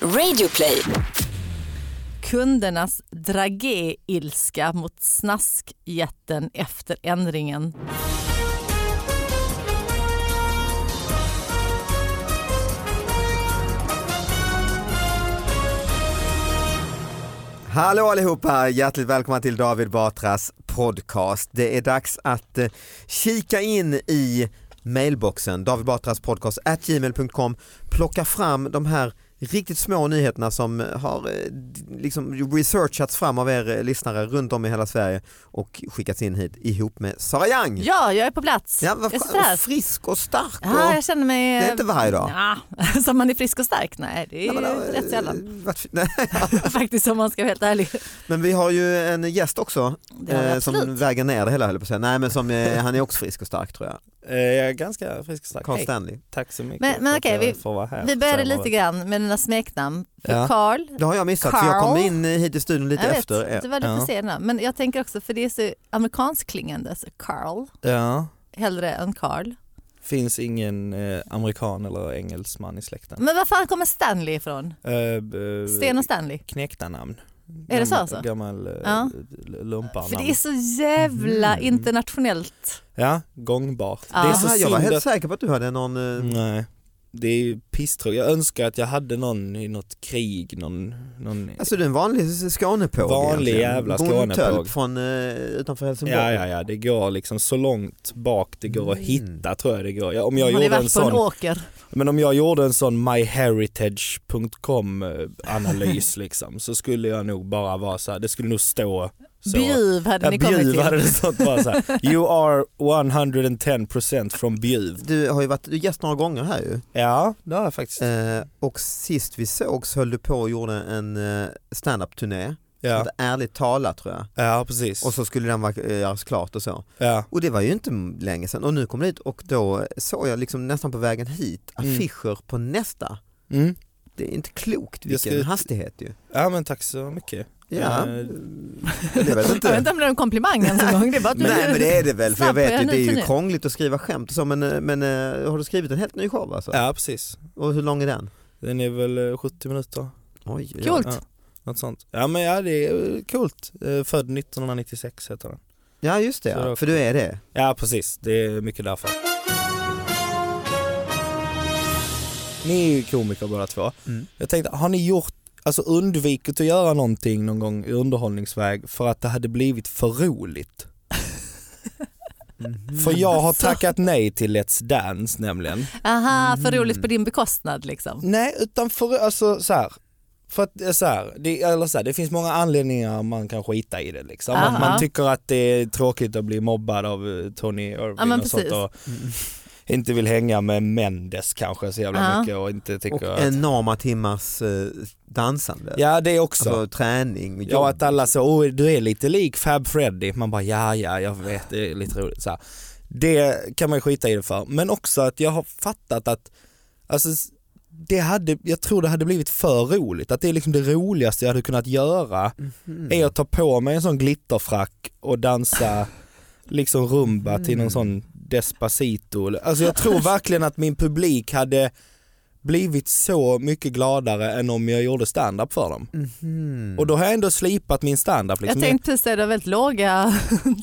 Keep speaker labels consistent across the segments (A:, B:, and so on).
A: Radioplay.
B: Kundernas dragé-ilska mot snaskjätten efter ändringen.
C: Hallå allihopa, hjärtligt välkomna till David Batras podcast. Det är dags att eh, kika in i mailboxen, David Batras podcast at gmail.com, plocka fram de här riktigt små nyheterna som har eh, d- liksom researchats fram av er eh, lyssnare runt om i hela Sverige och skickats in hit ihop med Sara Young.
B: Ja, jag är på plats.
C: Ja, vad
B: jag
C: fan,
B: sitter här.
C: frisk och stark. Och,
B: Ja, jag känner mig...
C: det är inte varje dag.
B: Ja, som man är frisk och stark? Nej, det är
C: Nej,
B: ju
C: men, eh,
B: rätt sällan.
C: vart- nej,
B: Faktiskt om man ska vara helt ärlig.
C: Men vi har ju en gäst också
B: Det har vi
C: eh, som
B: absolut.
C: väger ner det hela höll jag på att säga. Nej men som, eh, han är också frisk och stark tror jag.
D: Eh, Jag är ganska frisk och stark.
C: Carl
D: Hej,
C: Stanley.
D: tack så mycket
B: Men- men
D: för
B: okej,
D: att jag
B: vi-
D: får vara här.
B: Vi började
D: tillsammans.
B: lite grann med dina smeknamn. För
C: Ja.
B: Carl,
C: Det har jag missat för jag
B: Carl.
C: kom in eh, hit i studion lite
B: jag vet,
C: efter er.
B: det var lite
D: Ja.
B: senare. Men jag tänker också, för det är så amerikansk klingande, så Carl,
D: Ja.
B: hellre än Carl.
D: Finns ingen eh, amerikan eller engelsman i släkten.
B: Men var fan kommer Stanley ifrån?
D: Eh, b-
B: Mm. Sten och Stanley?
D: Knäckta namn.
B: Är det så
D: Gammal-
B: alltså?
D: Gammal eh,
B: Ja.
D: l- lumparnamn.
B: För det är så jävla
D: Mm.
B: internationellt.
D: Ja, gångbart.
B: Ja.
D: Det är
C: Aha,
D: så Mm.
C: jag
D: synd
C: var helt
D: att...
C: säker på att du hade någon, eh,
D: Nej. Det är ju pisstråkigt. Jag önskar att jag hade någon i något krig, någon, någon
C: alltså du är en vanlig skånepåg
D: Vanlig
C: egentligen.
D: jävla
C: Bondtölp
D: Skånepåg.
C: från eh, utanför Helsingborg.
D: Ja, ja, ja, det går liksom så långt bak det går att
C: Mm.
D: hitta tror jag det går. Ja, om jag
B: Har ni
D: gjorde
B: varit
D: en
B: på
D: sån
B: en åker?
D: Men om jag gjorde en sån myheritage.com eh, analys liksom så skulle jag nog bara vara så här, det skulle nog stå så.
B: Bjuv hade
D: Ja,
B: ni kommit
D: Bjuv
B: till.
D: hade det stått bara så här. You are 110% from Bjuv.
C: Du har ju varit gäst några gånger här ju.
D: Ja, det har jag faktiskt.
C: Eh, och sist vi sågs höll du på och gjorde en eh, stand-up turné
D: Ja,
C: Ett ärligt talat tror jag.
D: ja precis.
C: Och så skulle den vara, eh, göras klart och så.
D: Ja.
C: Och det var ju inte m- länge sedan och nu kom det hit och då såg jag liksom nästan på vägen hit
D: Mm.
C: affischer på nästa.
D: Mm.
C: Det är inte klokt
D: Jag
C: vilken
D: ska-
C: hastighet ju.
D: ja, men tack så mycket.
C: Ja,
D: Eh,
C: det vet
B: Jag vet
C: inte.
B: inte om det är en komplimang ens en gång. Det är bara att du
C: Nej men det är det väl för jag
B: Snabb,
C: vet ju
B: jag är
C: det
B: ny
C: är
B: till
C: ju
B: nu.
C: krångligt att skriva skämt och så men, eh, men eh, har du skrivit en helt ny show alltså?
D: Ja, precis.
C: Och hur lång är den?
D: Den är väl eh, 70 minuter,
C: Oj, ja.
B: Coolt.
D: Ja. något sånt. Ja, men ja, det är coolt. Eh, Född 1996 heter den.
C: Ja just det,
D: Så det
C: ja.
D: var-
C: för du är det.
D: Ja precis, det är mycket därför. Ni är ju komiker båda två.
C: Mm.
D: Jag tänkte, har ni gjort, alltså undvikit att göra någonting någon gång i underhållningsväg för att det hade blivit för roligt? För jag har tackat nej till Let's Dance nämligen.
B: Aha,
D: Mm.
B: för roligt på din bekostnad liksom.
D: Nej, utan för, alltså så här. För att det är så här, det, eller så här, det finns många anledningar man kan skita i det liksom. Att
B: Aha.
D: man tycker att det är tråkigt att bli mobbad av eh, Tony Irving
B: Ja, men
D: och sånt
B: precis.
D: och inte vill hänga med Mendes kanske så jävla
B: Ja.
D: mycket och inte tycker
C: Och
D: att...
C: enorma timmars eh, dansande.
D: Ja det också.
C: Alltså träning, jobb.
D: ja att alla så, oh, du är lite lik Fab Freddy. Man bara ja ja jag vet det är lite roligt. Så här. Det kan man ju skita i det för. Men också att jag har fattat att, alltså det hade, jag tror det hade blivit för roligt. Att det är liksom det roligaste jag hade kunnat göra
C: Mm.
D: är att ta på mig en sån glitterfrack och dansa liksom rumba till någon sån Despacito. Alltså jag tror verkligen att min publik hade blivit så mycket gladare än om jag gjorde stand-up för dem.
C: Mhm.
D: Och då har jag ändå slipat min stand-up.
B: Jag
D: Liksom.
B: tänkte precis säga, du har väldigt låga...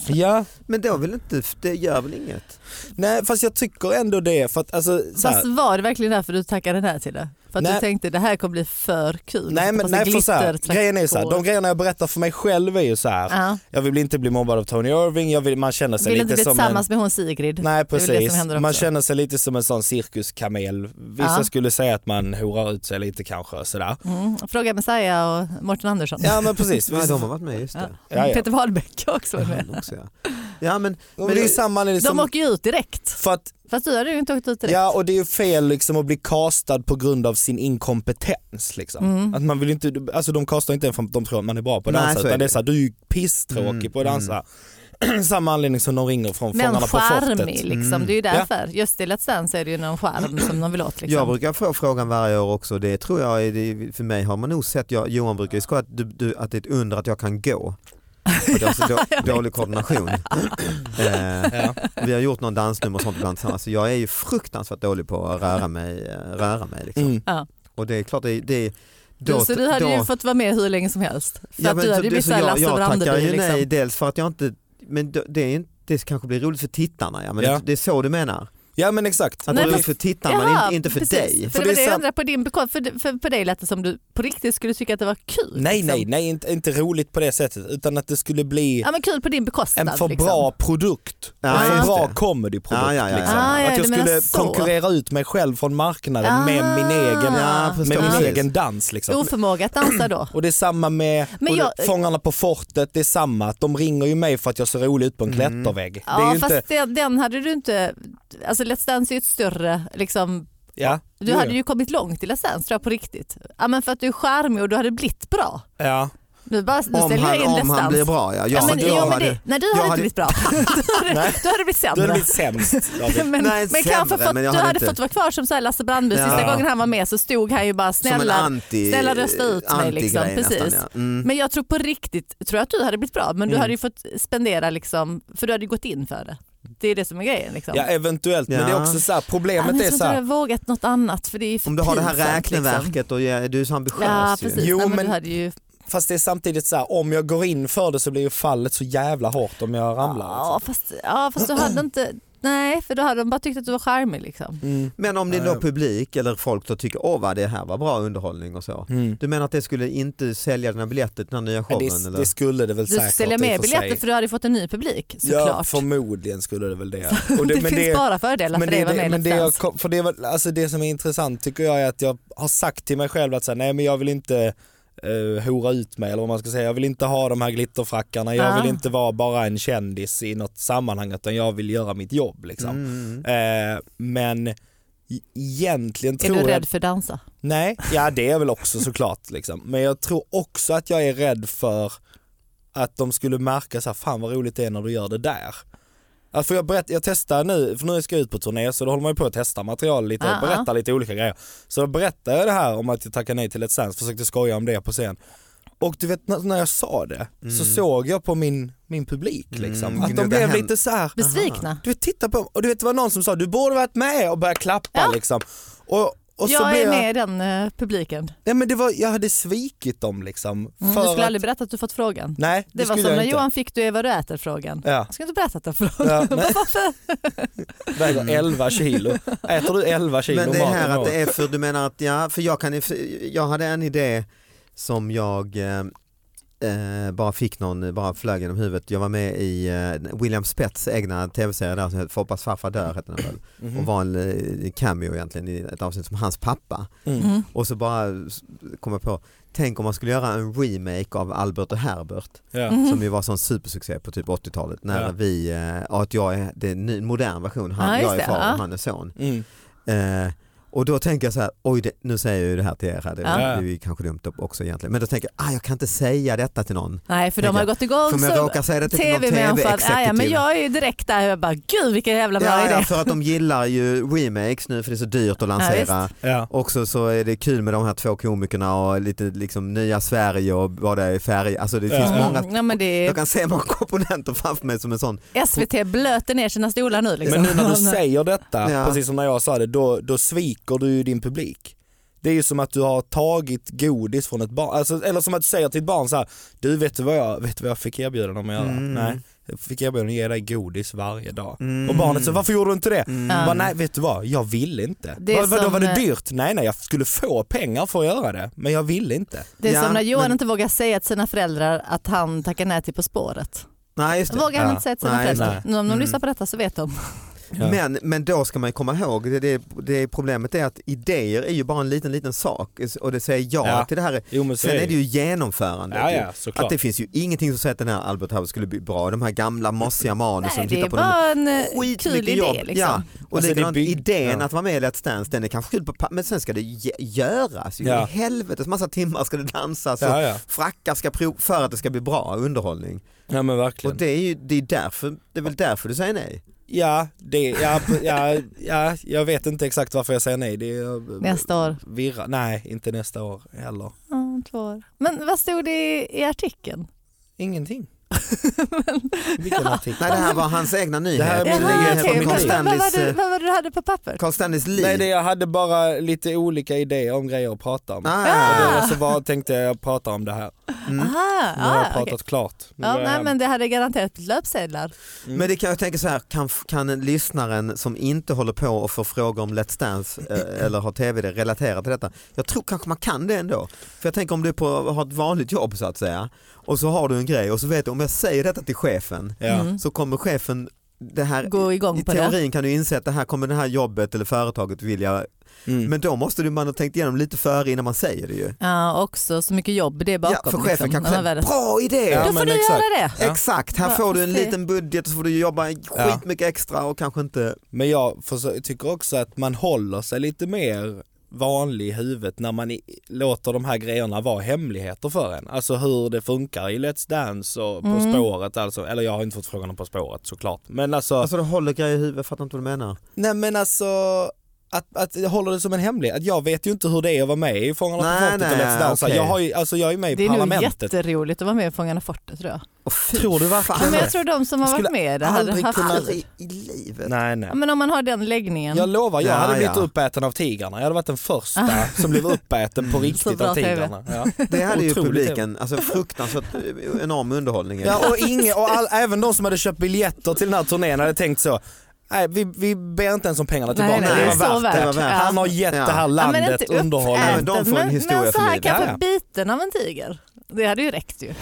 D: ja.
C: Men då vill inte, det gör väl inget?
D: Nej fast jag tycker ändå det för att alltså, så här,
B: Fast var det verkligen därför du tackade nej till det? För att du
D: Nej.
B: tänkte det här kommer bli för kul?
D: Nej men
B: Fast det
D: nej, för så här,
B: glitter-
D: grejen är så här, de grejerna jag berättar för mig själv är ju så här.
B: Ja.
D: jag vill inte bli mobbad av Tony Irving, jag vill, man känner sig
B: Vill inte
D: Alltså,
B: bli
D: lite som en
B: tillsammans med hon Sigrid?
D: Nej
B: är väl det som
D: precis,
B: händer
D: man
B: också.
D: känner sig lite som en sån cirkuskamel. Vissa
B: Ja.
D: skulle säga att man horar ut sig lite kanske och sådär.
B: Mm. Fråga Messiah och Mårten Andersson.
D: Ja men precis.
C: Nej, de har varit med, just det.
D: Ja, ja.
B: Peter Wahlbeck har också varit med.
C: Han också, ja. ja men,
D: Men
C: men
D: det är samma det är
B: De
D: som,
B: åker ju ut direkt.
D: för att,
B: Fast du hade ju inte åkt ut direkt.
D: ja och det är ju fel liksom att bli castad på grund av sin inkompetens liksom.
B: Mm.
D: Att man vill inte, alltså de castar inte en för att de tror att man är bra på att
C: Nej,
D: dansa
C: så är
D: utan det är
C: det.
D: så här, du är ju pisstråkig
C: Mm,
D: på att dansa. samma anledning som de ringer från
B: Men
D: Fångarna på fortet.
B: charmig liksom, det är ju därför. Just i Let's Dance är det ju någon charm som de vill åt.
C: jag
B: Liksom.
C: brukar få frågan varje år också, det tror jag, är- det, för mig har man nog sett, jag, Johan brukar ju skoja att, du, du, att det är ett under att jag kan gå. För det har så då, dålig koordination. eh,
D: Ja.
C: vi har gjort någon dansnummer och sånt ibland tillsammans, så jag är ju fruktansvärt dålig på att röra mig. eh, Röra mig liksom.
D: Mm.
B: Ja.
C: Och det är klart, det, är- det, är- Då-
B: så du hade
C: då-
B: ju fått vara med hur länge som helst. För att
C: men
B: du
C: så-
B: hade ju blivit
C: så
B: såhär
C: jag,
B: Lasse
C: jag tackar
B: Brandeby.
C: ju nej,
B: Liksom.
C: dels för att jag inte, men det- det, är, inte- det kanske blir roligt för tittarna, ja, men
D: Ja.
C: det- det är så du menar?
D: Ja men exakt.
B: Nej,
C: Att det är roligt
B: fast-
C: för tittarna men
B: Jaha,
C: inte, inte för
B: precis.
C: dig?
B: För det
D: För
B: var
D: det är
B: det jag
D: sant-
B: undrar på din bekostnad. För, det- för, för dig lät det som du på riktigt skulle tycka att det var kul.
D: Nej
B: liksom.
D: nej nej inte, inte roligt på det sättet utan att det skulle bli
B: Ja men kul på din bekostnad.
D: en för
B: liksom.
D: bra produkt.
C: Ja,
D: en för
C: just
D: bra
C: det.
D: comedyprodukt.
C: Ja, ja, ja, ja.
D: Liksom.
B: Ah, ja,
D: att jag
B: du menar
D: skulle
B: så.
D: konkurrera ut mig själv från marknaden med min
B: Ah.
D: egen,
C: Ja,
D: med min
C: precis.
D: egen dans. Liksom.
B: Oförmåga att dansa då.
D: Och det är samma med
B: Men
D: och det-
B: jag-
D: Fångarna på fortet, det är samma. Att de ringer ju mig för att jag ser rolig ut på en
C: Mm.
D: klättervägg. Det är
B: Ja
D: ju
B: fast
D: inte,
B: det, den hade du inte, alltså Let's Dance är ju ett större, liksom,
D: ja,
B: du
D: jo,
B: hade
D: ja.
B: ju kommit långt i Let's Dance tror jag på riktigt. Ja men för att du är charmig och du hade blivit bra.
D: Ja.
B: Nu, bara, nu
C: Om
B: ställer jag
C: han,
B: in
C: om
B: Let's
C: han blir
B: Dance.
C: bra ja. Jag,
B: Ja, men,
C: jag
B: ja, men
C: hade,
B: det, nej du
C: jag
B: hade inte
C: hade-
B: blivit bra. du, hade, du hade blivit
D: Du
B: sämre.
D: hade blivit sämst David.
B: men
C: Nej,
B: men
C: sämre,
B: kanske fått,
C: men jag
B: du
C: hade
B: hade
C: inte-
B: fått vara kvar som så här Lasse Brandby. Sista
C: Ja.
B: gången han var med så stod han ju bara
C: som en
B: snälla,
C: anti,
B: snälla rösta ut mig.
C: anti-grej
B: Liksom. Precis.
C: Nästan, ja. mm.
B: Men jag tror på riktigt, tror jag att du hade blivit bra men du
D: Mm.
B: hade ju fått spendera liksom, för du hade ju gått in för det. Det är det som är grejen. Liksom.
D: Ja eventuellt, men
C: Ja.
D: det är också så här,
B: Ja, men
D: problemet
B: jag tror
D: är så
B: inte du
D: här,
B: hade vågat något annat för det är ju för
C: Om du har det här
B: pinsamt, Liksom.
C: räkneverket och ja, du är så ambitiös
B: Ja
C: ju.
B: precis,
D: Jo,
B: Nej, men
D: men-
B: du hade ju...
D: fast det är samtidigt så här, om jag går in för det så blir ju fallet så jävla hårt om jag ramlar.
B: Ja
D: Liksom.
B: fast, ja fast du hade inte, nej för då hade de bara tyckt att du var charmig liksom.
D: Mm.
C: Men om det är
D: Ja,
C: då
D: ja.
C: publik eller folk då tycker åh vad det här var bra underhållning och så.
D: Mm.
C: Du menar att det skulle inte sälja den här biljetten, den här nya
D: Men
C: showen?
D: det,
C: eller?
D: det skulle det väl
B: Du skulle
D: säkert
B: sälja
D: i
B: mer
D: och för
B: biljetter
D: sig.
B: för du hade ju fått en ny publik såklart.
D: Ja förmodligen skulle det väl det. Och
B: det,
D: men
B: finns bara fördelar för
D: men
B: dig
D: det,
B: att vara med
D: det,
B: i
D: men det,
B: Let's
D: jag,
B: Dance.
D: kom- för det, var, alltså det som är intressant tycker jag är att jag har sagt till mig själv att så här, nej men jag vill inte uh, hora ut mig eller vad man ska säga. Jag vill inte ha de här glitterfrackarna, jag
B: Ah.
D: vill inte vara bara en kändis i något sammanhang utan jag vill göra mitt jobb liksom.
C: Mm.
D: Eh, men e- egentligen
B: Är
D: tror
B: du
D: jag...
B: rädd för att dansa?
D: Nej, ja det är jag väl också såklart. Liksom. Men jag tror också att jag är rädd för att de skulle märka så här, fan vad roligt det är när du gör det där. Ja, För jag, berätt, jag testar nu, för nu ska jag ut på turné så då håller man ju på att testa material lite och
B: Ja,
D: berätta lite olika grejer. Så då berättade jag det här om att jag tackade nej till Let's Dance, försökte skoja om det på scen. Och du vet när när jag sa det så såg jag på min, min publik liksom,
C: Mm,
D: att de
C: gnugga
D: blev
C: hem.
D: lite så här, "Ah,
B: Besvikna?
D: du vet titta på och du vet det var någon som sa du borde varit med och började klappa
B: Ja.
D: liksom. Och, och så
B: jag
D: blev
B: är
D: jag,
B: med i den eh, publiken.
D: Nej men det var, jag hade svikit dem liksom.
B: Mm, du
D: för
B: skulle
D: att-
B: aldrig berätta att du fått frågan.
D: Nej det,
B: Det var
D: skulle
B: som
D: jag
B: när
D: inte.
B: Johan fick du är vad du äter frågan.
D: Ja,
B: Jag ska inte berätta att du frågan.
D: ja, nej,
B: Varför?
D: väger 11 kilo. Äter du 11 kilo
C: Men det är
D: mat
C: här
D: om
C: att det
D: året?
C: är för, du menar att, ja, för jag, kan, jag hade en idé som jag eh, eh, bara fick någon, bara flög genom huvudet. Jag var med i eh, William Spets egna tv-serie där som hette Foppas farfar dör hette den väl.
D: Mhm.
C: Och var en eh, cameo egentligen i ett avsnitt som hans pappa.
D: Mm.
B: Mm.
C: Och så bara s- kom jag på, tänk om man skulle göra en remake av Albert och Herbert
D: Ja.
B: Mhm.
C: som ju var sån supersuccé på typ 80-talet när
D: Ja.
C: vi, eh, ja, att jag är, det är en ny, modern version, han,
B: Ja, just
C: jag är
B: det,
C: far och
B: ja.
C: han är son.
D: Mm.
C: Eh, och då tänker jag så här, oj det, nu säger jag ju det här till er, här. Det,
B: Ja.
C: det är ju kanske dumt också egentligen, men då tänker jag, ah, jag kan inte säga detta till någon.
B: Nej för de
C: Tänker
B: har
C: jag.
B: gått igång
C: För om jag
B: som
C: råkar säga det till någon
B: tv-människa. Ja, ja, men
C: tv-exekutiv.
B: jag är ju direkt där jag bara gud vilken jävla bra
C: Ja,
B: idé.
C: ja, för att de gillar ju remakes nu för det är så dyrt att lansera.
D: Ja.
C: Också så är det kul med de här två komikerna och lite liksom nya Sverige och vad det är i färg. Alltså det
D: Ja.
C: finns
B: Mm,
C: många,
B: ja, men det
C: jag kan se många komponenter framför mig som en sån
B: SVT blöter ner sina stolar nu. Liksom.
D: Men nu när du säger detta,
C: Ja.
D: precis som när jag sa det, då, då sviker du ju din publik. Det är ju som att du har tagit godis från ett barn, alltså, eller som att du säger till ett barn så här, du vet du vad jag, vet du vad jag fick erbjudande om att göra?
C: Mm.
D: Nej, jag fick erbjudande att ge dig godis varje dag.
C: Mm.
D: Och barnet säger, varför gjorde du inte det?
B: Ja.
D: Bara, nej vet du Mm, vad, jag ville inte.
B: Det är
D: Vad, vadå
B: som,
D: var det
B: eh,
D: dyrt? Nej nej jag skulle få pengar för att göra det men jag ville inte.
B: Det är
C: Ja,
B: som när Johan
C: men-
B: inte vågar säga till sina föräldrar att han tackar nej till På spåret.
C: Nej just det.
B: Vågar han
D: Ja.
B: inte säga till sina
C: Nej, just
B: föräldrar.
D: det.
B: Nu om de
C: Mm.
B: lyssnar på detta så vet de.
D: Ja.
C: Men, men då ska man ju komma ihåg, det, det, det problemet är att idéer är ju bara en liten, liten sak och det säger ja,
D: Ja.
C: till det här.
D: Jo men så
C: Sen är det ju genomförande.
D: Ja
C: ju.
D: ja såklart.
C: Att det finns ju ingenting som säger att den här Albert Howard skulle bli bra, de här gamla mossiga manusen.
B: Nej,
C: titta
B: det är
C: på dem.
B: bara en eh, kul
C: Skitmycket
B: idé.
C: jobb.
B: Liksom.
C: Ja. Och
D: Alltså, det är
C: likadant
D: bygg-
C: idén
D: ja.
C: att vara med i Let's Dance, den är kanske kul på pa- men sen ska det ge- göras. Ju.
D: Ja.
C: I helvetes massa timmar ska det dansas och
D: Ja, ja.
C: frackar ska prov för att det ska bli bra underhållning.
D: ja men
C: Och
D: verkligen.
C: det är ju det är därför, det är väl därför du säger nej?
D: Ja, det, ja, p- ja, ja, jag vet inte exakt varför jag säger nej. Det är,
B: Nästa år.
D: Virra. Nej, inte nästa år heller.
B: Ja, två år. Men vad stod det i, i artikeln?
D: Ingenting. Vilken artikel?
C: Nej det här var hans egna nyhet.
D: här är min
B: Jaha,
D: nyhet
B: okej,
D: om
B: vad,
C: Carl
D: Carl
B: vad, vad, var
C: Stanleys,
B: det-
C: eh,
B: vad var det du hade på papper?
C: Carl Stanleys liv.
D: Nej, det, jag hade bara lite olika idéer om grejer att prata om.
C: Ah.
D: Och då så bara tänkte jag prata om det här.
B: Aha,
D: Nu har jag
B: ah,
D: pratat
B: okej.
D: klart. Nu
B: ja,
D: går jag
B: nej,
D: hem.
B: men det hade garanterat blivit löpsedlar.
C: Men det kan jag tänka så här, kan, kan en lyssnaren som inte håller på och får frågor om Let's Dance eh, eller har tv det relatera till detta? Jag tror kanske man kan det ändå. För jag tänker om du är på, har ett vanligt jobb så att säga och så har du en grej och så vet du om jag säger detta till chefen
D: Ja.
B: Mm.
C: så kommer chefen det här,
B: Gå igång
C: I
B: på det.
C: teorin kan du inse att det här kommer det här jobbet eller företaget vilja,
D: Mm.
C: men då måste du man ha tänkt igenom lite före innan man säger det ju.
B: Ja, också så mycket jobb det är bakom.
C: Ja, för chefen
B: liksom,
C: kanske
B: när man
C: säger
B: väl-
C: bra idé!
D: Ja,
B: Då
D: men
B: får du
D: exakt.
B: göra det.
D: Ja.
C: Exakt, här
B: Ja,
C: får du en
B: fast det-
C: liten budget så får du jobba skitmycket extra och kanske inte
D: Men jag försö- tycker också att man håller sig lite mer vanlig i huvudet när man i- låter de här grejerna vara hemligheter för en. Alltså hur det funkar i Let's Dance och På spåret alltså. Eller jag har inte fått frågan om På spåret såklart. Men alltså,
C: Alltså det håller grejer i huvudet, jag fattar inte vad du menar.
D: nej men alltså att, att jag håller det som en hemlighet. Att jag vet ju inte hur det är att vara med i Fångarna
C: Nej,
D: på fortet och
C: nej,
D: Let's Dance.
C: okej.
D: Jag, har ju, alltså, jag är med i
B: Det är nog
D: Parlamentet.
B: jätteroligt att vara med i Fångarna fortet tror jag.
C: Och fy
D: Tror du
C: fan.
D: verkligen
B: Men jag
D: det?
B: tror de som har
D: skulle
B: varit med där hade
C: aldrig
B: haft
C: kunnat
B: tur.
C: i, i livet.
D: Nej nej.
B: Ja, men om man har den läggningen.
D: Mm. Jag lovar, jag
C: Ja,
D: hade blivit
C: ja.
D: uppäten av tigrarna. Jag hade varit den första som blev uppäten på riktigt
B: bra
D: av
B: TV.
D: tigrarna. Ja.
C: Det hade ju
D: Otroligt
C: publiken, alltså fruktansvärt eh, enorm underhållning.
D: Ja, och ingen, och all, även de som hade köpt biljetter till den här turnén hade tänkt så. Nej, vi, vi ber inte ens om pengarna tillbaka.
C: nej,
D: det,
C: det
D: var
C: är
B: så
D: värt det.
C: värt. Ja.
D: Han har gett det här
B: Ja, men
D: landet
B: inte
D: underhållning.
C: Nej, men de får en
B: men,
C: historia
B: men så
C: för
B: här
C: livet.
D: Ja, ja.
B: kanske biten av en tiger. Det hade ju räckt ju.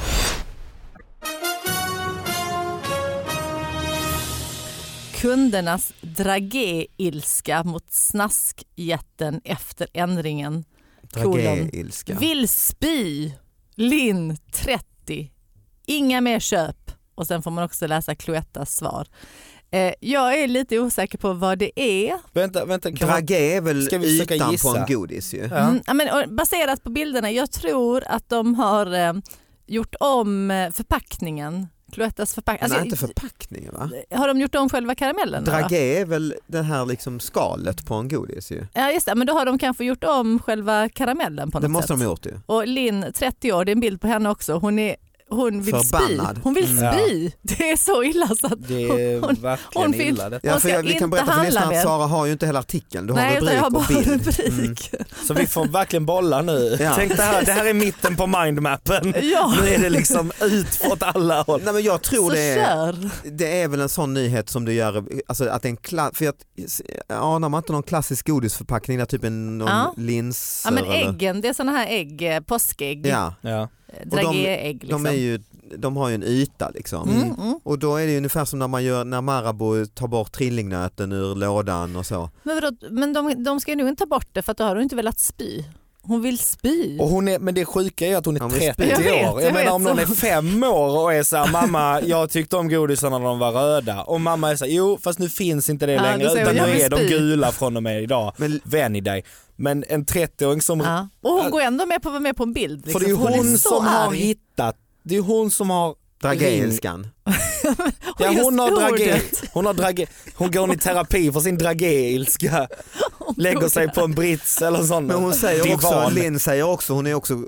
B: Kundernas dragé-ilska mot snaskjätten efter ändringen kolon.
C: Dragé-ilska.
B: Vill spy, Linn 30, inga mer köp. Och sen får man också läsa Cloettas svar. Eh, jag är lite osäker på vad det är.
D: Vänta, vänta. Kan man,
C: Dragé är väl
D: Ska vi försöka
C: ytan på
D: gissa? Alltså,
C: en godis ju.
D: ja.
B: Mm, ja, men, och baserat på bilderna, jag tror att de har eh, gjort om eh, förpackningen. Cloettas förpackning.
C: Nej, inte förpackningen va?
B: Har de gjort om själva karamellen? då?
C: Dragé är väl det här liksom skalet på en godis ju.
B: Ja just det, men då har de kanske gjort om själva karamellen på något
C: Det måste
B: sätt.
C: de ha gjort ju.
B: Och Linn, 30 år, det är en bild på henne också. Hon, är, hon vill
C: Förbannad.
B: spy. Hon vill
D: Mm.
B: spy. Det är så illa så att
D: Det är
B: Hon-
D: verkligen
B: hon fick-
D: illa det.
C: Ja,
B: Man
C: för
B: ska
C: jag, vi
B: inte
C: kan berätta för
B: handla
C: lyssnarna att
B: med-
C: Sara har ju inte hela artikeln, du har
B: Nej, utan
C: rubrik
B: jag har
C: och
B: bara
C: bild.
B: rubrik.
D: Så vi får verkligen bolla nu.
C: Ja.
D: Tänk det här, det här är mitten på mindmappen.
B: Ja.
D: Nu är det liksom ut åt alla håll.
C: Mm. Nej men jag tror
B: Så
C: det är,
B: kör.
C: det är väl en sån nyhet som du gör, alltså att en kla- för jag anar man inte någon klassisk godisförpackning där typ en, någon
B: Ja.
C: linser
B: Ja, men
C: eller?
B: äggen, det är sådana här ägg, eh, påskägg,
C: Ja,
D: Ja.
B: eh,
C: de-
B: dragéägg. Liksom.
C: de, är ju, de har ju en yta liksom.
B: mm, mm.
C: Och då är det ju ungefär som när man gör när Marabou tar bort trillingnöten ur lådan och så.
B: Men, vadå, men de, de ska ju nog inte ta bort det för att då har hon inte velat spy. Hon vill spy.
D: Och hon är, men det sjuka är att hon är
C: Ja, men
D: 30
C: jag
D: år.
B: vet,
D: jag
B: jag
D: menar
B: vet
D: om någon
B: så.
D: är fem år och är såhär mamma jag tyckte om godisarna när de var röda och mamma är såhär jo fast nu finns inte det
B: Ja,
D: längre
B: då säger
D: utan
B: hon,
D: nu
B: "Jag
D: är
B: vill
D: de
B: spy."
D: gula från och med idag.
C: Men
D: Vän i dig. Men en 30-åring som,
B: ja. och hon går ändå med på att vara med på en bild.
D: för
B: Liksom.
D: det är ju hon,
B: är så
D: som har
B: arg.
D: hittat, det är hon som har
C: dragéilskan.
D: Ja,
B: Just
D: hon har dragé,
B: ordet.
D: hon har dragé, hon går i terapi för sin dragéilska, lägger sig på en brits eller sån
C: Men hon säger
D: divan.
C: också, Linn säger också, hon är också,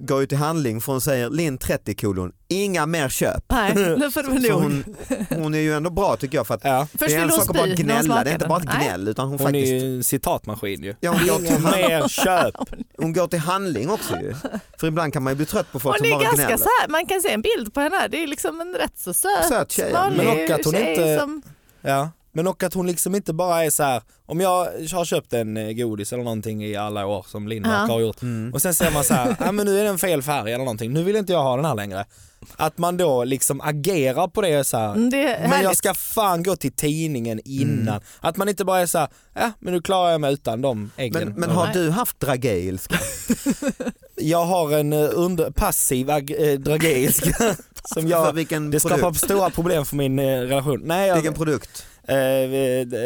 C: går ju till handling för hon säger Linn 30 kolon, inga mer köp.
B: Nej, nu får det vara
C: Så
B: nog.
C: hon, hon är ju ändå bra tycker jag för att
D: Ja,
B: Först
C: det är en
B: vill hon
C: sak att bara
B: spy när hon
C: gnälla,
B: smakar
C: det är inte
B: den.
C: bara att
B: Nej.
C: gnäll utan hon,
D: hon är
C: faktiskt,
D: ju en citatmaskin ju.
C: ja, hon, går till, hand-
D: Mer köp.
C: hon går till handling också ju. För ibland kan man ju bli trött på folk
B: Hon
C: som
B: är
C: bara
B: ganska
C: gnäller.
B: så här, man kan se en bild på henne, det är liksom en rätt så söt,
C: Söt tjej, ja.
B: vanlig
D: Men och att hon
B: tjej
D: inte-
B: som...
D: Ja. Men och att hon liksom inte bara är så här. om jag har köpt en eh, godis eller någonting i alla år som Linda
B: Ja.
D: har gjort
C: Mm.
D: och sen ser man så här, "Ah, men nu är den fel färg eller någonting, nu vill inte jag ha den här längre. Att man då liksom agerar på det så här.
B: Det är
D: Men jag
B: Mm, härligt.
D: ska fan gå till tidningen innan. Att man inte bara är så här, ja men nu klarar jag mig utan de äggen.
C: Men, men
D: Ja.
C: har du haft dragéilska?
D: Jag har en eh, under, passiv ag- eh, dragéilska som
C: För
D: jag,
C: vilken,
D: det skapar
C: produkt?
D: stora problem för min eh, relation. Nej, jag,
C: vilken produkt?
D: eh, eh,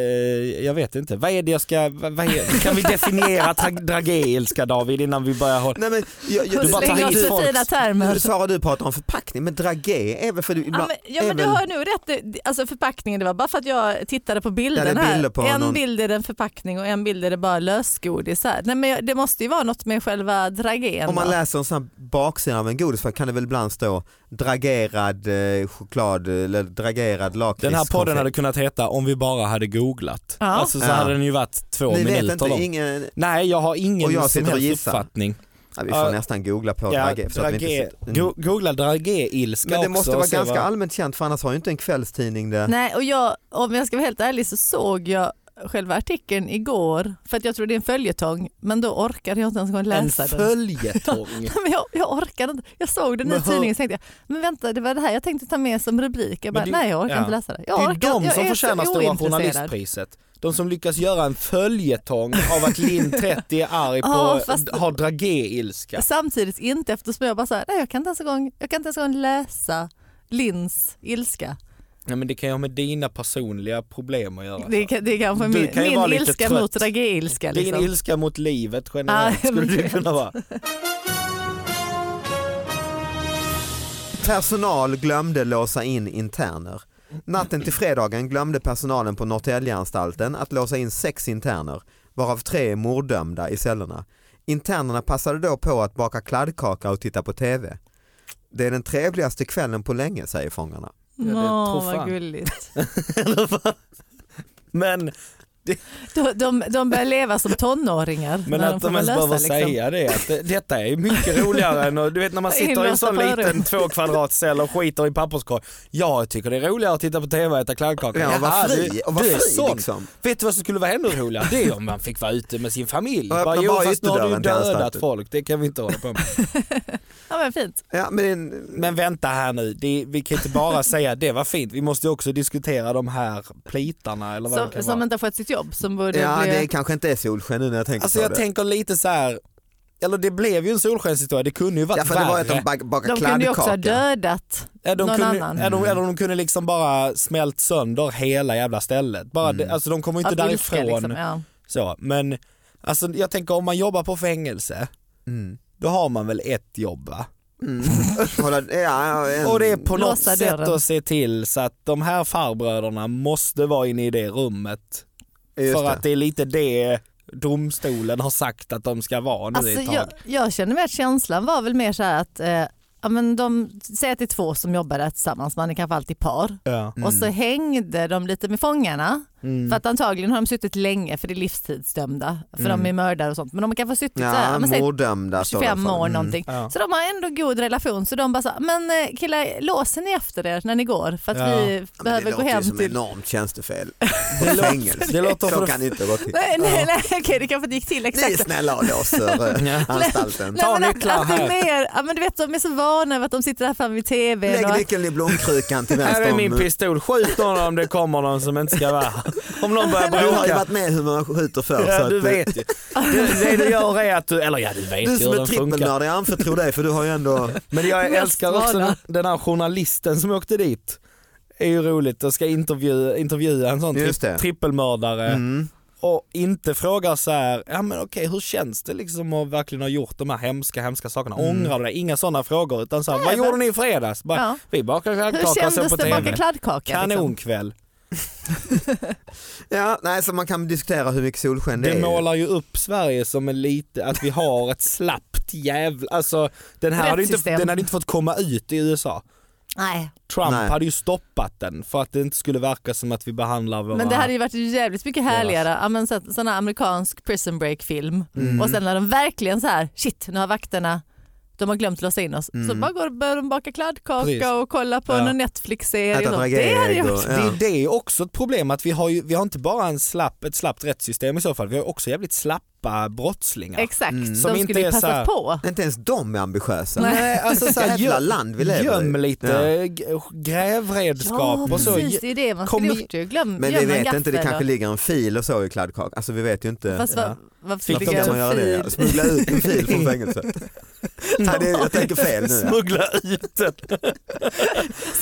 D: jag vet inte, vad är det jag ska, vad, vad är, kan vi definiera tra- dragéilska David innan vi börjar hålla?
C: Nej, men, jag, jag,
D: Du bara tar
B: Slänger
D: hit
B: oss
D: folks-
B: för fina termer.
C: Nu Sara du pratar om förpackning, men dragé är väl för du
B: Ja
C: ibland,
B: men, ja, men du
C: även-
B: har nog rätt. Det- Alltså förpackningen, det var bara för att jag tittade på bilden
C: Ja, det är
B: här.
C: bilder på
B: en
C: någon-
B: bild är det en förpackning och en bild är det bara lösgodis. Här. Nej, men jag, det måste ju vara något med själva dragén.
C: om man
B: va?
C: läser en sån här baksida av en godis så kan det väl ibland stå dragerad eh, choklad eller dragerad lakrits.
D: Den här podden
C: konfekt.
D: hade kunnat heta om vi bara hade googlat.
B: Ja.
D: Alltså så
C: Ja.
D: hade den ju varit två
C: Ni vet
D: minuter
C: inte,
D: lång.
C: ingen,
D: Nej jag har ingen
C: Och jag
D: som
C: sitter och
D: helst
C: gissar.
D: uppfattning.
C: ja, vi får
D: Ja,
C: nästan googla på
D: Ja,
C: dragé. så att vi inte
D: dragé-
C: sitter-
D: Go- Googla dragé-ilska
C: Men det
D: också
C: måste
D: och
C: vara
D: se
C: ganska
D: vad-
C: allmänt känt för annars har ju inte en kvällstidning det.
B: Nej, och jag, om jag ska vara helt ärlig så såg jag själva artikeln igår för att jag trodde det är en följetong men då orkade jag inte ens gå och
D: En
B: läsa den.
D: följetong.
B: Men jag, jag orkade inte. Jag såg den
D: Men
B: i
D: hur-
B: tidningen och tänkte jag, men vänta det var det här jag tänkte ta med som rubrik. Jag
D: Men
B: bara,
D: det-
B: nej jag orkar
D: ja.
B: inte läsa det. Jag
D: Det är
B: orkar,
D: de
B: jag
D: som
B: är så
D: förtjänar Stora
B: ointresserad.
D: Journalistpriset. De som lyckas göra en följetong av att Linn 30 är arg på,
B: Ja, fast-
D: har dragé-ilska.
B: Samtidigt inte eftersom jag bara så här, nej jag kan inte ens, en gång, jag kan inte ens en gång läsa Lins ilska.
D: Ja, men det kan ju ha med dina personliga problem att göra.
B: Det, kan- det är kanske
D: Alltså. Du
B: min,
D: kan ju vara
B: min
D: lite
B: ilska
D: trött.
B: mot dragé-ilska.
D: Din
B: Liksom.
D: ilska mot livet
B: Ja,
D: generellt
B: jag
D: skulle det
B: vet.
D: kunna vara.
C: Personal glömde låsa in interner. Natten till fredagen glömde personalen på Norrtäljeanstalten att låsa in sex interner, varav tre är morddömda i cellerna. Internerna passade då på att baka kladdkaka och titta på TV. Det är den trevligaste kvällen på länge, säger fångarna.
D: Ja, det
B: Åh,
D: tror fan.
B: vad gulligt.
D: Men,
B: De, de, de börjar leva som tonåringar.
D: men
B: när
D: att
B: får
D: de ens
B: lösa,
D: behöver
B: liksom.
D: säga det, att det- detta är ju mycket roligare än att- du vet när man sitter i en
B: Inlåsta
D: sån
B: på rum.
D: liten två kvadratcell och skiter i papperskorg. Jag tycker det är roligare att titta på TV och äta kladdkaka.
C: Ja, och
D: Jaha,
C: var
D: du-
C: fri, och var
D: du är
C: fri
D: sån.
C: liksom.
D: Vet du vad som skulle vara ännu roligare? Det är om man fick vara ute med sin familj.
C: Och öppna
D: Bara, jo
C: bara
D: fast nu har du ju
C: ytterdörren till
D: dödat
C: anstalten."
D: folk, det kan vi inte hålla på med.
B: Ja, men fint.
C: Ja, men,
D: Men vänta här nu, det, vi kan inte bara säga det var fint, vi måste ju också diskutera de här plitarna eller vad det
B: Som,
D: kan
B: som
D: vara.
B: inte har fått sitt jobb. Som borde
C: ja,
B: bli...
C: det kanske inte är solsken nu när jag tänker
D: Alltså
C: på
D: jag
C: det.
D: tänker lite så här. eller det blev ju en solskenshistoria, det kunde ju varit
C: ja, för det
D: värre.
C: var ju att de bak- bakade
B: De kunde ju också ha
C: kladdkaka.
B: dödat
D: Ja, de
B: någon
D: kunde,
B: annan.
D: ja,
C: Mm.
D: de, eller de kunde liksom bara smält sönder hela jävla stället. Bara, det,
C: Mm.
D: alltså de kommer ju inte
B: av ilska.
D: därifrån.
B: Liksom. Ja.
D: Så, men alltså, jag tänker om man jobbar på fängelse,
C: Mm.
D: då har man väl ett jobb va?
C: Mm. Hålla- ja, en-
D: Och det är på något
B: Låsa
D: sätt
B: dörren.
D: att se till så att de här farbröderna måste vara inne i det rummet.
C: just
D: för
C: det.
D: att det är lite det domstolen har sagt att de ska vara nu
B: Alltså,
D: ett tag.
B: jag, jag känner mig att känslan var väl mer så här att eh, ja, men de säger att det är två som jobbar där tillsammans, man är kanske alltid par.
D: Ja.
B: Och så hängde de lite med fångarna.
D: Mm.
B: För att antagligen har de suttit länge för det är livstidsdömda. För de är
D: Mm.
B: mördare och sånt. Men de har kanske suttit så här,
C: Ja,
B: ja, men säg
C: morddömda står det
B: 25
C: för.
B: år
C: Mm.
B: någonting.
D: Ja.
B: Så de har ändå god relation. Så de bara så här, men eh, killar låser ni efter er när ni går? För att
D: Ja. Ja,
B: vi
C: Ja, men
B: behöver
C: det
B: gå
C: låter
B: hem
C: ju som
B: till...
C: enormt tjänstefel.
D: Det låter-
C: Fängelse.
D: det låter för-
C: Så kan det inte gå till.
B: Nej, nej, nej, okej, det kanske inte gick till
C: Ni är
B: exakt så.
C: snälla och låser eh, anstalten.
D: Ta
B: Nej, men att,
D: nycklar
B: att det är
D: här.
B: mer, ja, men du vet, de är så vana över att de sitter här framme vid tvn.
C: Lägg
B: och att,
C: nyckeln i blomkrukan till
D: Här
C: vänster
D: är
C: om...
D: min pistol, skjut någon om det kommer någon som inte ska vara här. Om någon börjar
C: Du har ju
D: bråka.
C: varit med hur man skjuter förr. så
D: Ja,
C: att,
D: du
C: eh,
D: vet ju. Det, det du gör är att du, eller ja du vet
C: du
D: ju
C: som
D: hur
C: är
D: den funkar.
C: trippelnörd, jag anförtror dig för du har ju ändå...
D: Men jag
B: Mest
D: älskar också
B: vana.
D: den, den här journalisten som åkte dit. är ju roligt och ska intervjua, intervjua en sån
C: Just det.
D: tri- trippelmördare.
C: Mm.
D: och inte frågar så här, ja men okej hur känns det liksom att verkligen ha gjort de här hemska, hemska sakerna? Ångrar du dig? Inga sådana frågor utan så här, vad
B: Mm. men-
D: gjorde ni i fredags? Bara,
B: Ja.
D: Vi bakade
B: hur
D: kladdkaka och såg
B: kändes
D: på
B: det att baka
D: TV.
B: kladdkaka? Liksom?
D: Kanonkväll.
C: Ja, nej, så man kan diskutera hur mycket solsken det
D: Det
C: är. ju.
D: målar ju upp Sverige som en lite, att vi har ett slappt jävla, alltså den här hade ju inte,
B: Rättssystem.
D: den hade inte fått komma ut i USA.
B: Nej,
D: Trump
C: Nej.
D: hade ju stoppat den för att det inte skulle verka som att vi behandlar våra...
B: men det hade ju varit jävligt mycket härligare. Ja, men så, sån här amerikansk prison break film.
D: Mm.
B: Och sen när de verkligen så här, shit nu har vakterna de har glömt låsa in oss. Så bara går, börjar de baka kladdkaka
D: Mm. Precis.
B: och kolla på
D: Ja.
B: någon Netflix-serie.
C: Äta
B: och sånt. Det hade ju
C: drageägg och-
B: varit...
C: Ja.
D: Det, det är ju också ett problem att vi har, ju, vi har inte bara en slapp, ett slappt rättssystem i så fall, vi har ju också jävligt slappa brottslingar.
B: Exakt,
D: Mm. Som
B: de
D: inte
B: skulle ju
D: är så här-
B: passat på.
C: Inte ens de är ambitiösa.
B: Nej.
D: alltså
C: Så
D: här,
C: jävla
D: göm-
C: land vi lever i.
D: Göm lite
C: Ja.
D: g- grävredskap
B: Ja
D: och så.
B: precis, det är det man
D: kom
B: skulle
D: i-
B: gjort ju. Glöm,
C: Men
B: göm
C: vi
B: en
C: vet
B: gaffel
C: inte, det
B: och-
C: kanske ligger en fil och så i kladdkaka. Alltså vi vet ju inte.
B: Fast
D: Ja.
B: va, varför
D: Fick
B: skulle
C: Varför
B: jag
C: ska man
B: göra
C: göra
B: en fil?
C: det? Smuggla ut en fil från fängelset. Nej, det, jag tänker fel nu. ja.
D: Smuggla ut den.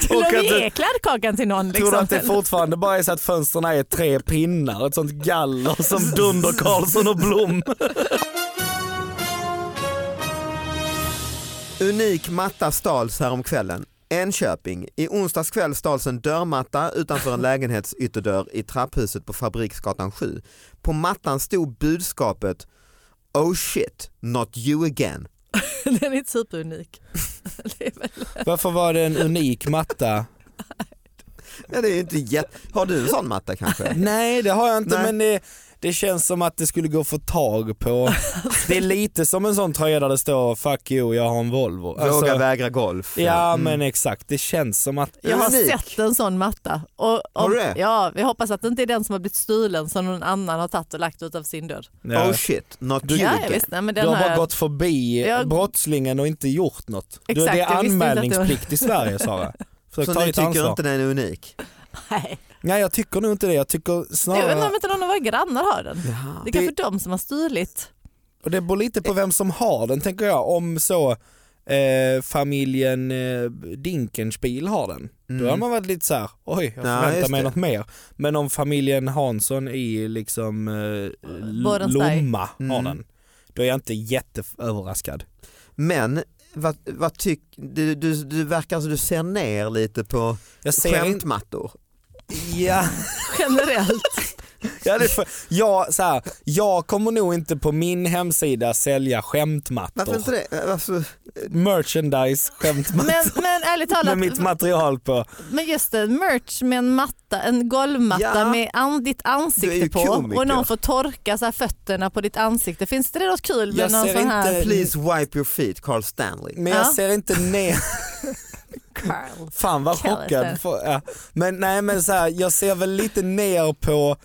B: Skulle
D: Och att
B: de
D: du-
B: ge kladdkakan till någon?
D: Tror du
B: Liksom?
D: att det fortfarande bara är så att fönstren är tre pinnar, ett sånt galler som Dunder Karlsson och Blom?
C: Unik matta stals häromkvällen. Enköping. I onsdags kväll stals en dörrmatta utanför en lägenhets ytterdörr i trapphuset på Fabriksgatan 7. På mattan stod budskapet Oh shit, not you again.
B: Den är superunik. Det är väl-
D: Varför var det en unik matta?
C: Ja, det är ju inte jätte... Har du en sån matta kanske?
D: Nej det har jag inte
C: Nej.
D: men det, det känns som att det skulle gå att få tag på. Det är lite som en sån tröja där det står fuck you jag har en Volvo.
C: Våga
D: Alltså,
C: vägra golf.
D: ja
C: Mm.
D: men exakt, det känns som att
B: Jag har
C: Unik.
B: sett en sån matta. Och om,
C: Har du det?
B: Ja, vi hoppas att det inte är den som har blivit stulen som någon annan har tagit och lagt ut av sin dörr.
C: Oh shit, not
D: Du-
C: you
B: ja,
C: again.
B: visst, nej, men
D: Du
B: den
D: har bara
B: jag-
D: gått förbi
B: Jag-
D: brottslingen och inte gjort något. du,
B: Exakt,
D: det är
B: jag visste inte att det var-
D: anmälningsplikt i Sverige Sara. Försök
C: Så
D: ta
C: ni
D: ditt
C: tycker
D: ansvar.
C: inte den är unik?
B: Nej.
D: Nej jag tycker nog inte det, jag tycker
B: Jag undrar
D: snarare,
B: om inte någon av våra grannar har den.
C: Ja.
B: Det är
D: Det-
B: kanske de som har stulit.
D: och det beror lite på vem som har den tänker jag, om så eh, familjen eh, Dinkenspiel har den. Då har
C: Mm.
D: man varit lite så här, oj jag
C: Ja,
D: förväntar
C: just
D: mig
C: det.
D: något mer. Men om familjen Hansson i liksom eh, L-
B: Borensberg.
D: Lomma har
C: Mm.
D: den, då är jag inte jätteöverraskad.
C: Men vad, vad tyck, du, du, du verkar som du ser ner lite på
D: Jag ser inte,
C: skämtmattor.
D: ja,
B: Generellt.
D: ja, det är för, jag, så här, jag kommer nog inte på min hemsida sälja skämtmattor.
C: Varför inte det?
D: Eh,
C: Varför?
D: Merchandise skämtmattor
B: Men, men ärligt
D: med
B: talat,
D: mitt material på.
B: men just det, merch med en matta, en golvmatta
C: Ja.
B: med an, ditt
C: Du är ju
B: ansikte på och
C: komiker.
B: någon får torka så här fötterna på ditt ansikte. Finns det något kul
D: Jag
B: med någon
D: ser
B: sån
D: inte-
B: här?
C: Please wipe your feet, Carl Stanley.
D: Men jag
B: Ja.
D: ser inte ner
B: Carl.
D: Fan vad
B: Kallas
D: chockad.
B: det.
D: Får- Ja. Men nej men så här, jag ser väl lite ner på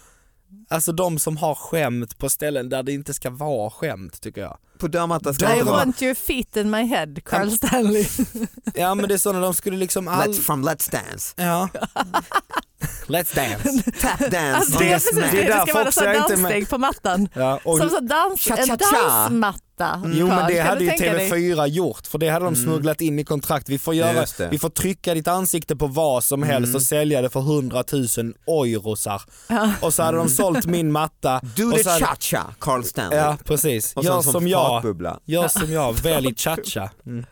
D: Alltså de som har skämt på ställen där det inte ska vara skämt tycker jag.
C: På dörrmattan ska
D: Där
C: inte
B: I
D: var-
C: vara
B: want your feet in my head, Carl Stanley.
D: Ja men det är sådana de skulle liksom all...
C: Let's, from Let's Dance.
D: Ja. Let's dance.
C: Tap dance
B: Alltså,
C: on
B: det, är
C: this
B: precis,
C: man.
B: det, det
D: därför
B: ska vara
D: också
B: så här
D: jag inte med-
B: danssteg på mattan.
D: Ja, och...
B: Som så dans, en
C: Cha-cha-cha.
B: dansmatta.
D: Jo men
B: Carl.
D: det
B: Kan
D: hade
B: du
D: ju
B: tänka dig?
D: TV4 gjort för det hade de
C: Mm.
D: smugglat in i kontrakt. Vi får, göra,
C: Just det.
D: vi får trycka ditt ansikte på vad som helst
C: Mm.
D: och sälja det för 100 000 eurosar.
B: Ja.
D: Och så hade de sålt min matta.
C: Do
D: och
C: the
D: så hade...
C: cha-cha, Carl Stanley.
D: Ja precis.
C: Och sen
D: Gör
C: som
D: som jag.
C: fartbubbla.
D: Gör som jag, välj cha-cha. Mm.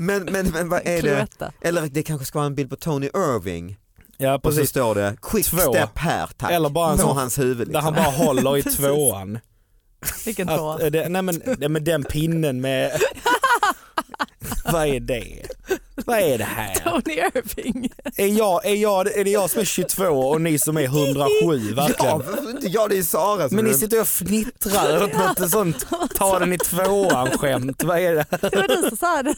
C: Men, men, men vad är det?
B: Piruetta.
C: Eller det kanske ska vara en bild på Tony Irving
D: Ja
C: och så
D: precis,
C: står det quick
D: Två.
C: step här tack
D: Eller bara en
C: på
D: sån-
C: hans huvud.
D: där han
C: Liksom.
D: bara håller i
B: Precis.
D: tvåan.
B: Vilken tå.
D: Att, eh, det, nej, men, nej men den pinnen med... Vad är det? Vad är det här?
B: Tony Irving.
D: Är, jag, är, jag, är det jag som är 22 och ni som är 107
C: Ja,
D: verkligen?
C: varför inte jag? Det är Sara som
D: Men ni
C: är-
D: sitter och fnittrar åt något sånt ta den i tvåan skämt. Vad är det?
B: Det var du som sa det.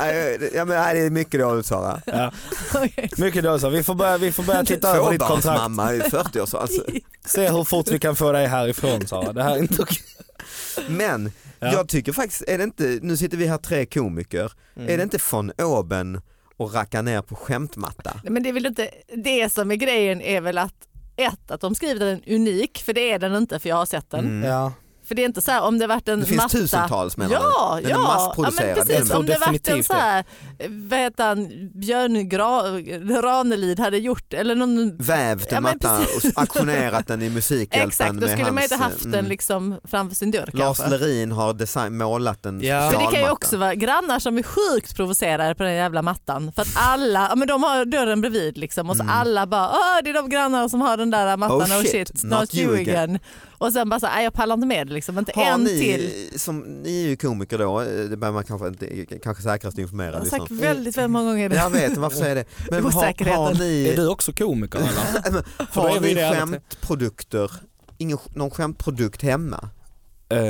C: Nej, det- ja, men, nej, det är mycket dåligt Sara.
D: Ja,
B: Okej.
D: mycket då så. Vi får börja, vi får börja titta över ditt kontrakt.
C: Tvåbarnsmamma i 40 år alltså.
D: Se hur fort vi kan få dig härifrån Sara. Det här är inte okej.
C: Men
D: Ja.
C: jag tycker faktiskt, är det inte, nu sitter vi här tre komiker,
B: Mm.
C: är det inte von oben och racka ner på skämtmatta?
B: Nej, Men det, är väl inte, det som är grejen är väl att ett, att de skrivit den unik, för det är den inte för jag har sett den.
C: Mm.
D: Ja.
B: För det är inte så här om det varit en
C: Det finns
B: matta.
C: tusentals, menar
B: Ja,
C: du? Den är
B: ja.
C: massproducerad,
B: ja men
C: den
B: precis.
C: är-
B: Om det varit en
D: Definitivt
B: så här, eh, vad heter han, Björn Gra- Ranelid hade gjort, eller någon
C: Vävt en
B: Ja, men
C: matta och auktionerat den i Musikhjälpen
B: Exakt, då
C: med
B: skulle
C: hans,
B: man inte haft
C: mm,
B: den liksom framför sin dörr
C: Lars
B: kanske.
C: Lerin har design, målat en
D: Ja.
B: För det kan ju
C: specialmatta.
B: också vara grannar som är sjukt provocerade på den jävla mattan. För att alla, ja, men de har dörren bredvid liksom och så alla bara Åh, det är de grannarna som har den där mattan,
C: Mm. Oh
B: oh
C: shit,
B: shit,
C: not
B: not,
C: you
B: you again. Och sen bara så här, "Nej, jag pallar inte med det liksom, inte
C: Har
B: en
C: ni,
B: till.
C: Som, ni är ju komiker då, eh, det behöver man kanske inte, kanske säkrast
B: Jag
C: informera.
B: har sagt
C: lyssnarna.
B: väldigt, väldigt många gånger det.
C: Jag vet, varför säger jag det? Men har,
B: Osäkerheten.
C: har
D: Är
C: ni,
D: du också komiker eller? då
C: har
D: är vi
C: ni
D: det alla tre.
C: skämtprodukter, ingen, någon skämtprodukt hemma?
D: Eh,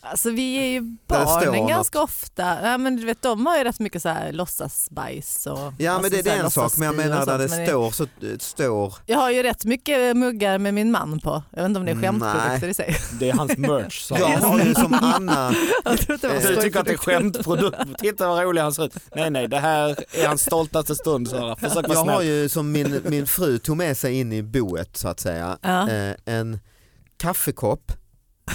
B: Alltså vi är ju
C: det står
B: barnen
C: något.
B: ganska ofta, ja, men du vet de har ju rätt mycket så här låtsasbajs och
C: Ja men
B: alltså,
C: det, är
B: så här
C: en sak, men jag
B: låtsasspyr och
C: menar där
B: sånt,
C: det
B: men
C: står så eh, står,
B: Jag har ju rätt mycket muggar med min man på. Jag vet inte om det är
C: Mm, Nej.
B: skämtprodukter i sig.
D: det är hans merch Sara.
C: jag har ju som Anna,
B: Jag tror att det var
C: Eh, Du
B: skojprodukter.
D: Du Eh, tycker att det är skämtprodukt. Titta vad rolig han ser ut. Nej nej, det här är hans stoltaste stund Sara. Försök
C: jag
D: vara
C: har
D: snäll.
C: ju som min, min fru tog med sig in i boet så att säga,
B: Ja.
C: eh, en kaffekopp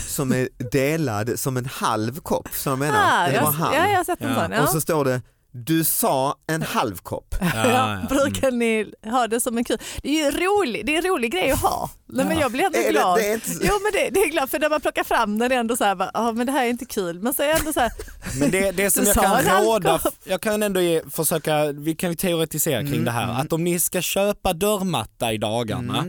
C: som är delad som en halv kopp, så jag menar,
B: Ah,
C: den
B: jag,
C: var halv.
B: ja, jag har sett en
D: Ja.
B: sån. Ja.
C: Och så står det, du sa en halv kopp.
B: ja, brukar ni ha det som en kul? Det är ju rolig, det är en rolig grej att ha. Nej, men
D: Ja.
B: jag blir ändå
C: Är det-
B: glad.
C: det är inte-
B: Jo men det, det är glad för när man plockar fram den är det ändå så här, bara, "Ah, men det här är inte kul. Men så är jag ändå så här,
D: Men det, det som
B: Du
D: jag
B: sa
D: kan
B: en alkohol.
D: råda, jag kan ändå ge, försöka, vi kan ju teoretisera kring det här, att om ni ska köpa dörrmatta i dagarna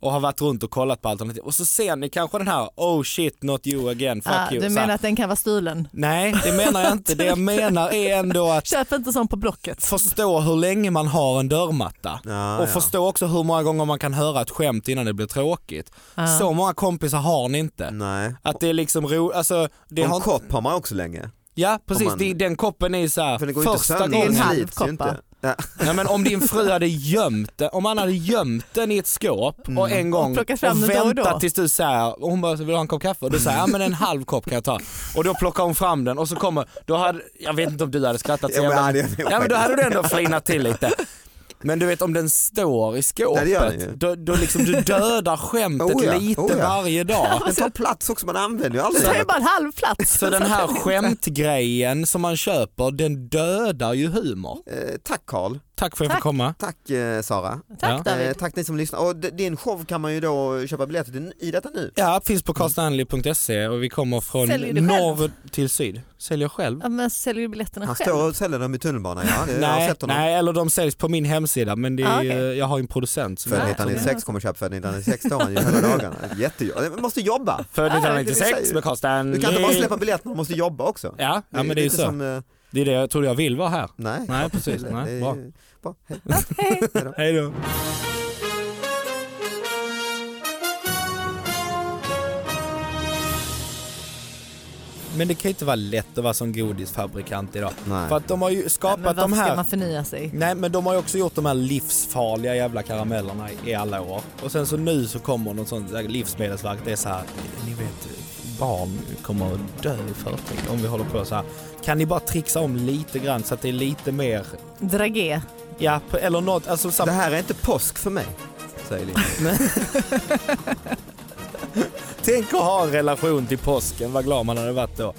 D: och har varit runt och kollat på alternativ och så ser ni kanske den här oh shit not you again, fuck
B: ah,
D: you.
B: du
D: så här.
B: menar att den kan vara stulen?
D: Nej det menar jag inte, det jag menar är ändå att
B: Köp inte sån på Blocket.
D: förstå hur länge man har en dörrmatta
C: Ja,
D: och
C: ja.
D: förstå också hur många gånger man kan höra ett skämt innan det blir tråkigt. Så många kompisar har ni inte.
C: Nej.
D: Att det är liksom ro, alltså, det
C: Och
D: har
C: en
D: inte-
C: kopp har man också länge.
D: Ja precis,
C: Om man-
D: Det- den koppen är ju såhär,
C: För det går ju inte
D: första
C: sönder,
B: gången.
C: den
B: Det är en
D: gången.
B: halv
C: slits ju
B: kopp,
C: inte.
B: va?
C: Ja.
D: Nej men om din fru hade gömt den, om han hade gömt den i ett skåp och
C: Mm.
D: en gång
B: Och plockat fram den då och
D: väntat
B: då.
D: tills du säger, och hon bara vill du ha en kopp kaffe? Och du säger, ja men en halv kopp kan jag ta. Och då plockar hon fram den och så kommer, då hade, jag vet inte om du hade skrattat
C: Ja,
D: så
C: men
D: jävla-
C: hade jag nog
D: Ja men då hade du ändå flinat till lite. Men du vet om den står i
C: Nej, det gör den ju.
D: skåpet, då, då liksom du dödar skämtet
C: Oh ja,
D: lite
C: oh ja.
D: varje dag.
C: Den tar plats också, man använder ju aldrig
B: Det är
C: den.
B: bara en halv plats.
D: Så den här skämtgrejen som man köper, den dödar ju humor.
C: Eh, tack Carl,
D: Tack för att jag fick
B: Tack.
D: komma.
C: tack eh, Sara.
D: Ja.
B: Tack
C: Eh,
B: David.
C: tack ni som lyssnar. Och d- din show kan man ju då köpa biljetter till i detta nu.
D: Ja, finns på carlstanley.se och vi kommer från
B: Säljer du själv?
D: norr till syd. Säljer själv?
B: Ja, men säljer du biljetterna
C: Han
B: själv?
C: står och säljer dem i tunnelbanan, ja. Det, jag har
D: Nej,
C: sett honom.
D: nej, eller de säljs på min hemsida men det är,
B: Ah,
D: ju-
B: okej.
D: jag har ju en producent. Som
C: Född
B: Nej.
C: 1996 kommer köpa född 1996, står han ju hela dagarna. Jättejobb. Man måste jobba.
B: Ah,
D: Född
C: det vi
D: 1996
C: säger.
D: med Carl Stanley.
C: Du kan inte bara släppa biljetter, man måste jobba också.
D: Ja, ja men det är ju
C: lite
D: så.
C: som, eh,
D: Det är det jag trodde jag vill vara här.
C: nej.
D: Nej precis,
C: Det är
D: nej,
C: ju-
D: bra.
C: bra. Hej.
D: Hej då. Men det kan ju inte vara lätt att vara som godisfabrikant idag.
C: Nej.
D: För att de har ju
B: Ja, Men
D: skapat de
B: varför
D: här...
B: ska man förnya sig?
D: Nej men de har ju också gjort de här livsfarliga jävla karamellerna i alla år. Och sen så nu så kommer något sånt, där Livsmedelsverket det är så här, ni vet barn kommer att dö i förtid om vi håller på så här. Kan ni bara trixa om lite grann så att det är lite mer,
B: Dragé.
D: ja på- eller något, alltså så
C: Det
D: här,
C: här är inte påsk för mig, säger Lina.
D: tänk att ha en relation till påsken, vad glad man hade varit då.